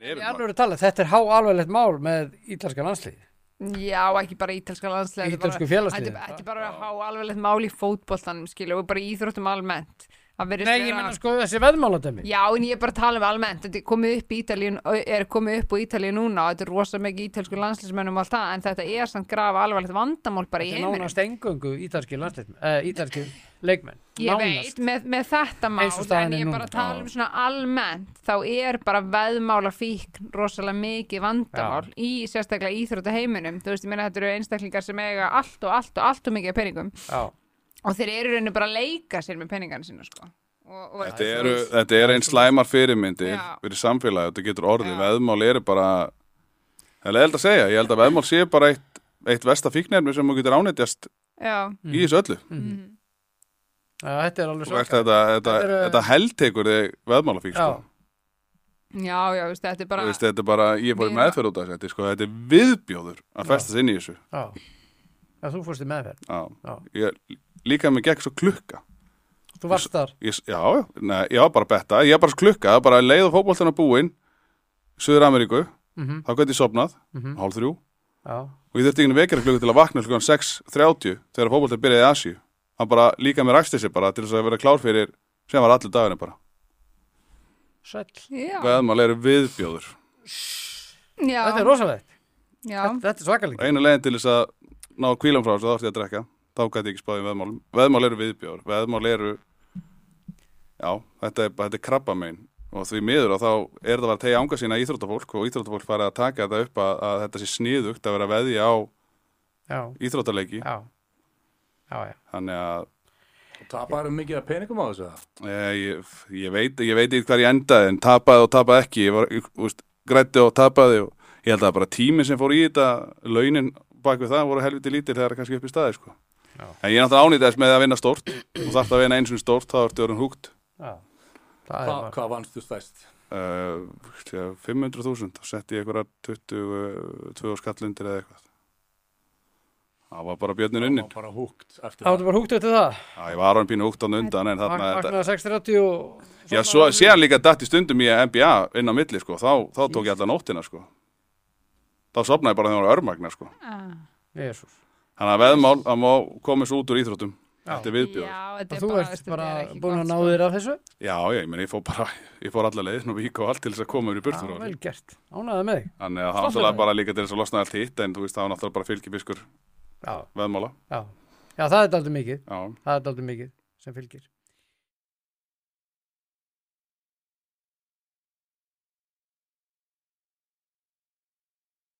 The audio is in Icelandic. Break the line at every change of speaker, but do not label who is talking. Ef
Í
maður-
alvöru tala, þetta er háalveglegt mál með ítalska landslið
Já, ekki bara ítalska landslega
Ítalsku
Þetta
félagsliði
þetta er bara að há alveglegt mál í fótboltanum skilju og bara í íþróttum almennt Það virðist
Nei, ég
vera-
menna sko þessi veðmáladömi
Já, en ég er bara að tala um almennt, þetta er komið upp, í Ítalíu, er komið upp á Ítalíu núna og þetta er rosa mikið ítalsku landslýsmennum og allt það, en þetta er samt grafa alvarlegt vandamál bara í
Þetta er
heiminum.
nánast engungu ítalski landslið eh, ítalski leikmenn
Ég
Nánast.
veit, með, með þetta mál,
Eins og staðan
en
er
ég er
núna.
bara að tala um svona almennt, þá er bara veðmála fíkn rosalega mikið vandamál í sérstaklega íþrótta heiminum, þú veist, ég meina þetta eru einstaklingar sem eiga allt og allt og allt og mikið af peningum
Já.
og þeir eru í rauninu bara að leika sér með peningarna sína, sko. Og, og
Þetta eru, þetta eru einn slæmar fyrirmyndir
Já.
fyrir samfélagi, þetta getur orðið,
Já.
veðmál eru bara, það er leiðilegt að segja, ég held að veðmál sé bara eitt, eitt versta fíknefni sem þú getur ánættjast
Já,
Mm.
í þessu öllu.
Já, þetta er alveg
Þú
svo
ert þetta, þetta,
Þetta eru-
þetta heldtekur þig veðmálafík,
Já,
sko.
já, já, veist, þetta er
Þú
bara...
Veist, þetta er bara, ég er bara í
Mér-
meðferð út af þessu, þetta er sko, þetta er viðbjóður að festast inn í þessu.
já Já, þú fórst í meðferð
Já.
Já.
Ég, líka með gegn svo klukka.
Þú varst þar
Ég, s- já, já, nei, já, bara betta, ég bara klukka, bara leið og fótboltana búinn, Suður Ameríku,
Mhm.
þá gæti ég sopnað,
Mhm.
hálf þrjú,
Já,
og ég þurfti ekki vekjara klukku til að vakna klukkan 6.30 þegar fótboltinn byrjaði í Asíu hann bara líka með ræksti sér bara til þess að vera klár fyrir sem var allir daginu bara
sæll
Já,
veðmál eru viðbjóður
já,
Þetta er rosalegt,
já,
þetta, þetta er svakalegt
einu leginn til þess að ná kvílam frá þessu þá ætti ég að drekka þá gæti ég ekki spáði veðmál veðmál eru viðbjóður veðmál eru já, þetta er, þetta er krabba mein og því miður og þá er það að vera tegja ánga sína íþróttafólk og íþróttafólk farið að taka þetta upp að, að þetta sé sniðugt að vera að veðja á
Já,
íþróttaleiki
já Já, já
þannig að
Taparum mikið að peningum á þessu það?
Eh, Ég, ég veit ég veit ekki hvað ég endaði en tapaði og tapaði ekki ég var, ég, úst, grætti og tapaði og ég held að bara tíminn sem fór í þetta launin bak við það voru helviti lítil þegar það er kannski upp í staði sko.
Já.
en ég er náttúrulega ánýtaðist með að vinna stórt og þarf að vinna eins og stórt þá ertu orðin húgt
Já, það er
Hva,
bara
hvað vannst þú stæst?
uh, 500.000 þá setti ég einhverja 22 skallundir eða eitthvað það var bara björnin
Það var
unnin
bara húgt eftir
Það
það.
var bara húgt eftir það
Já, ég var orðin pínu húgt án undan en þarna þetta-
Vaknaði 6.30 og
Já, svo séðan líka datt í stundum í NBA inn á milli, sko, þá, þá tók ég alla nóttina, sko. Þá sopnaði ég bara þegar það var örmagna, sko.
Ah.
Jésús
Þannig að veðmál, það má komið svo út úr íþróttum.
Já.
Þetta er viðbjóður. Já,
Já,
Og
þetta er
þú
bara,
ert
þetta
bara
er ekki
búin
gott,
að ná
sko.
þér af þessu
já, ég meni, ég fór bara, ég fór alla leiðin og vík og allt til þess að koma mér í
Já,
burtu frá.
vel gert, ánaði með þig
Þannig að það
Flott
náttúrulega
alveg.
bara líka til þess að losna allt hitt, en þú veist, það var náttúrulega bara fylgifiskur
Já,
veðmála.
já, já það er daldið mikið
Já,
Það er daldið mikið sem fylgir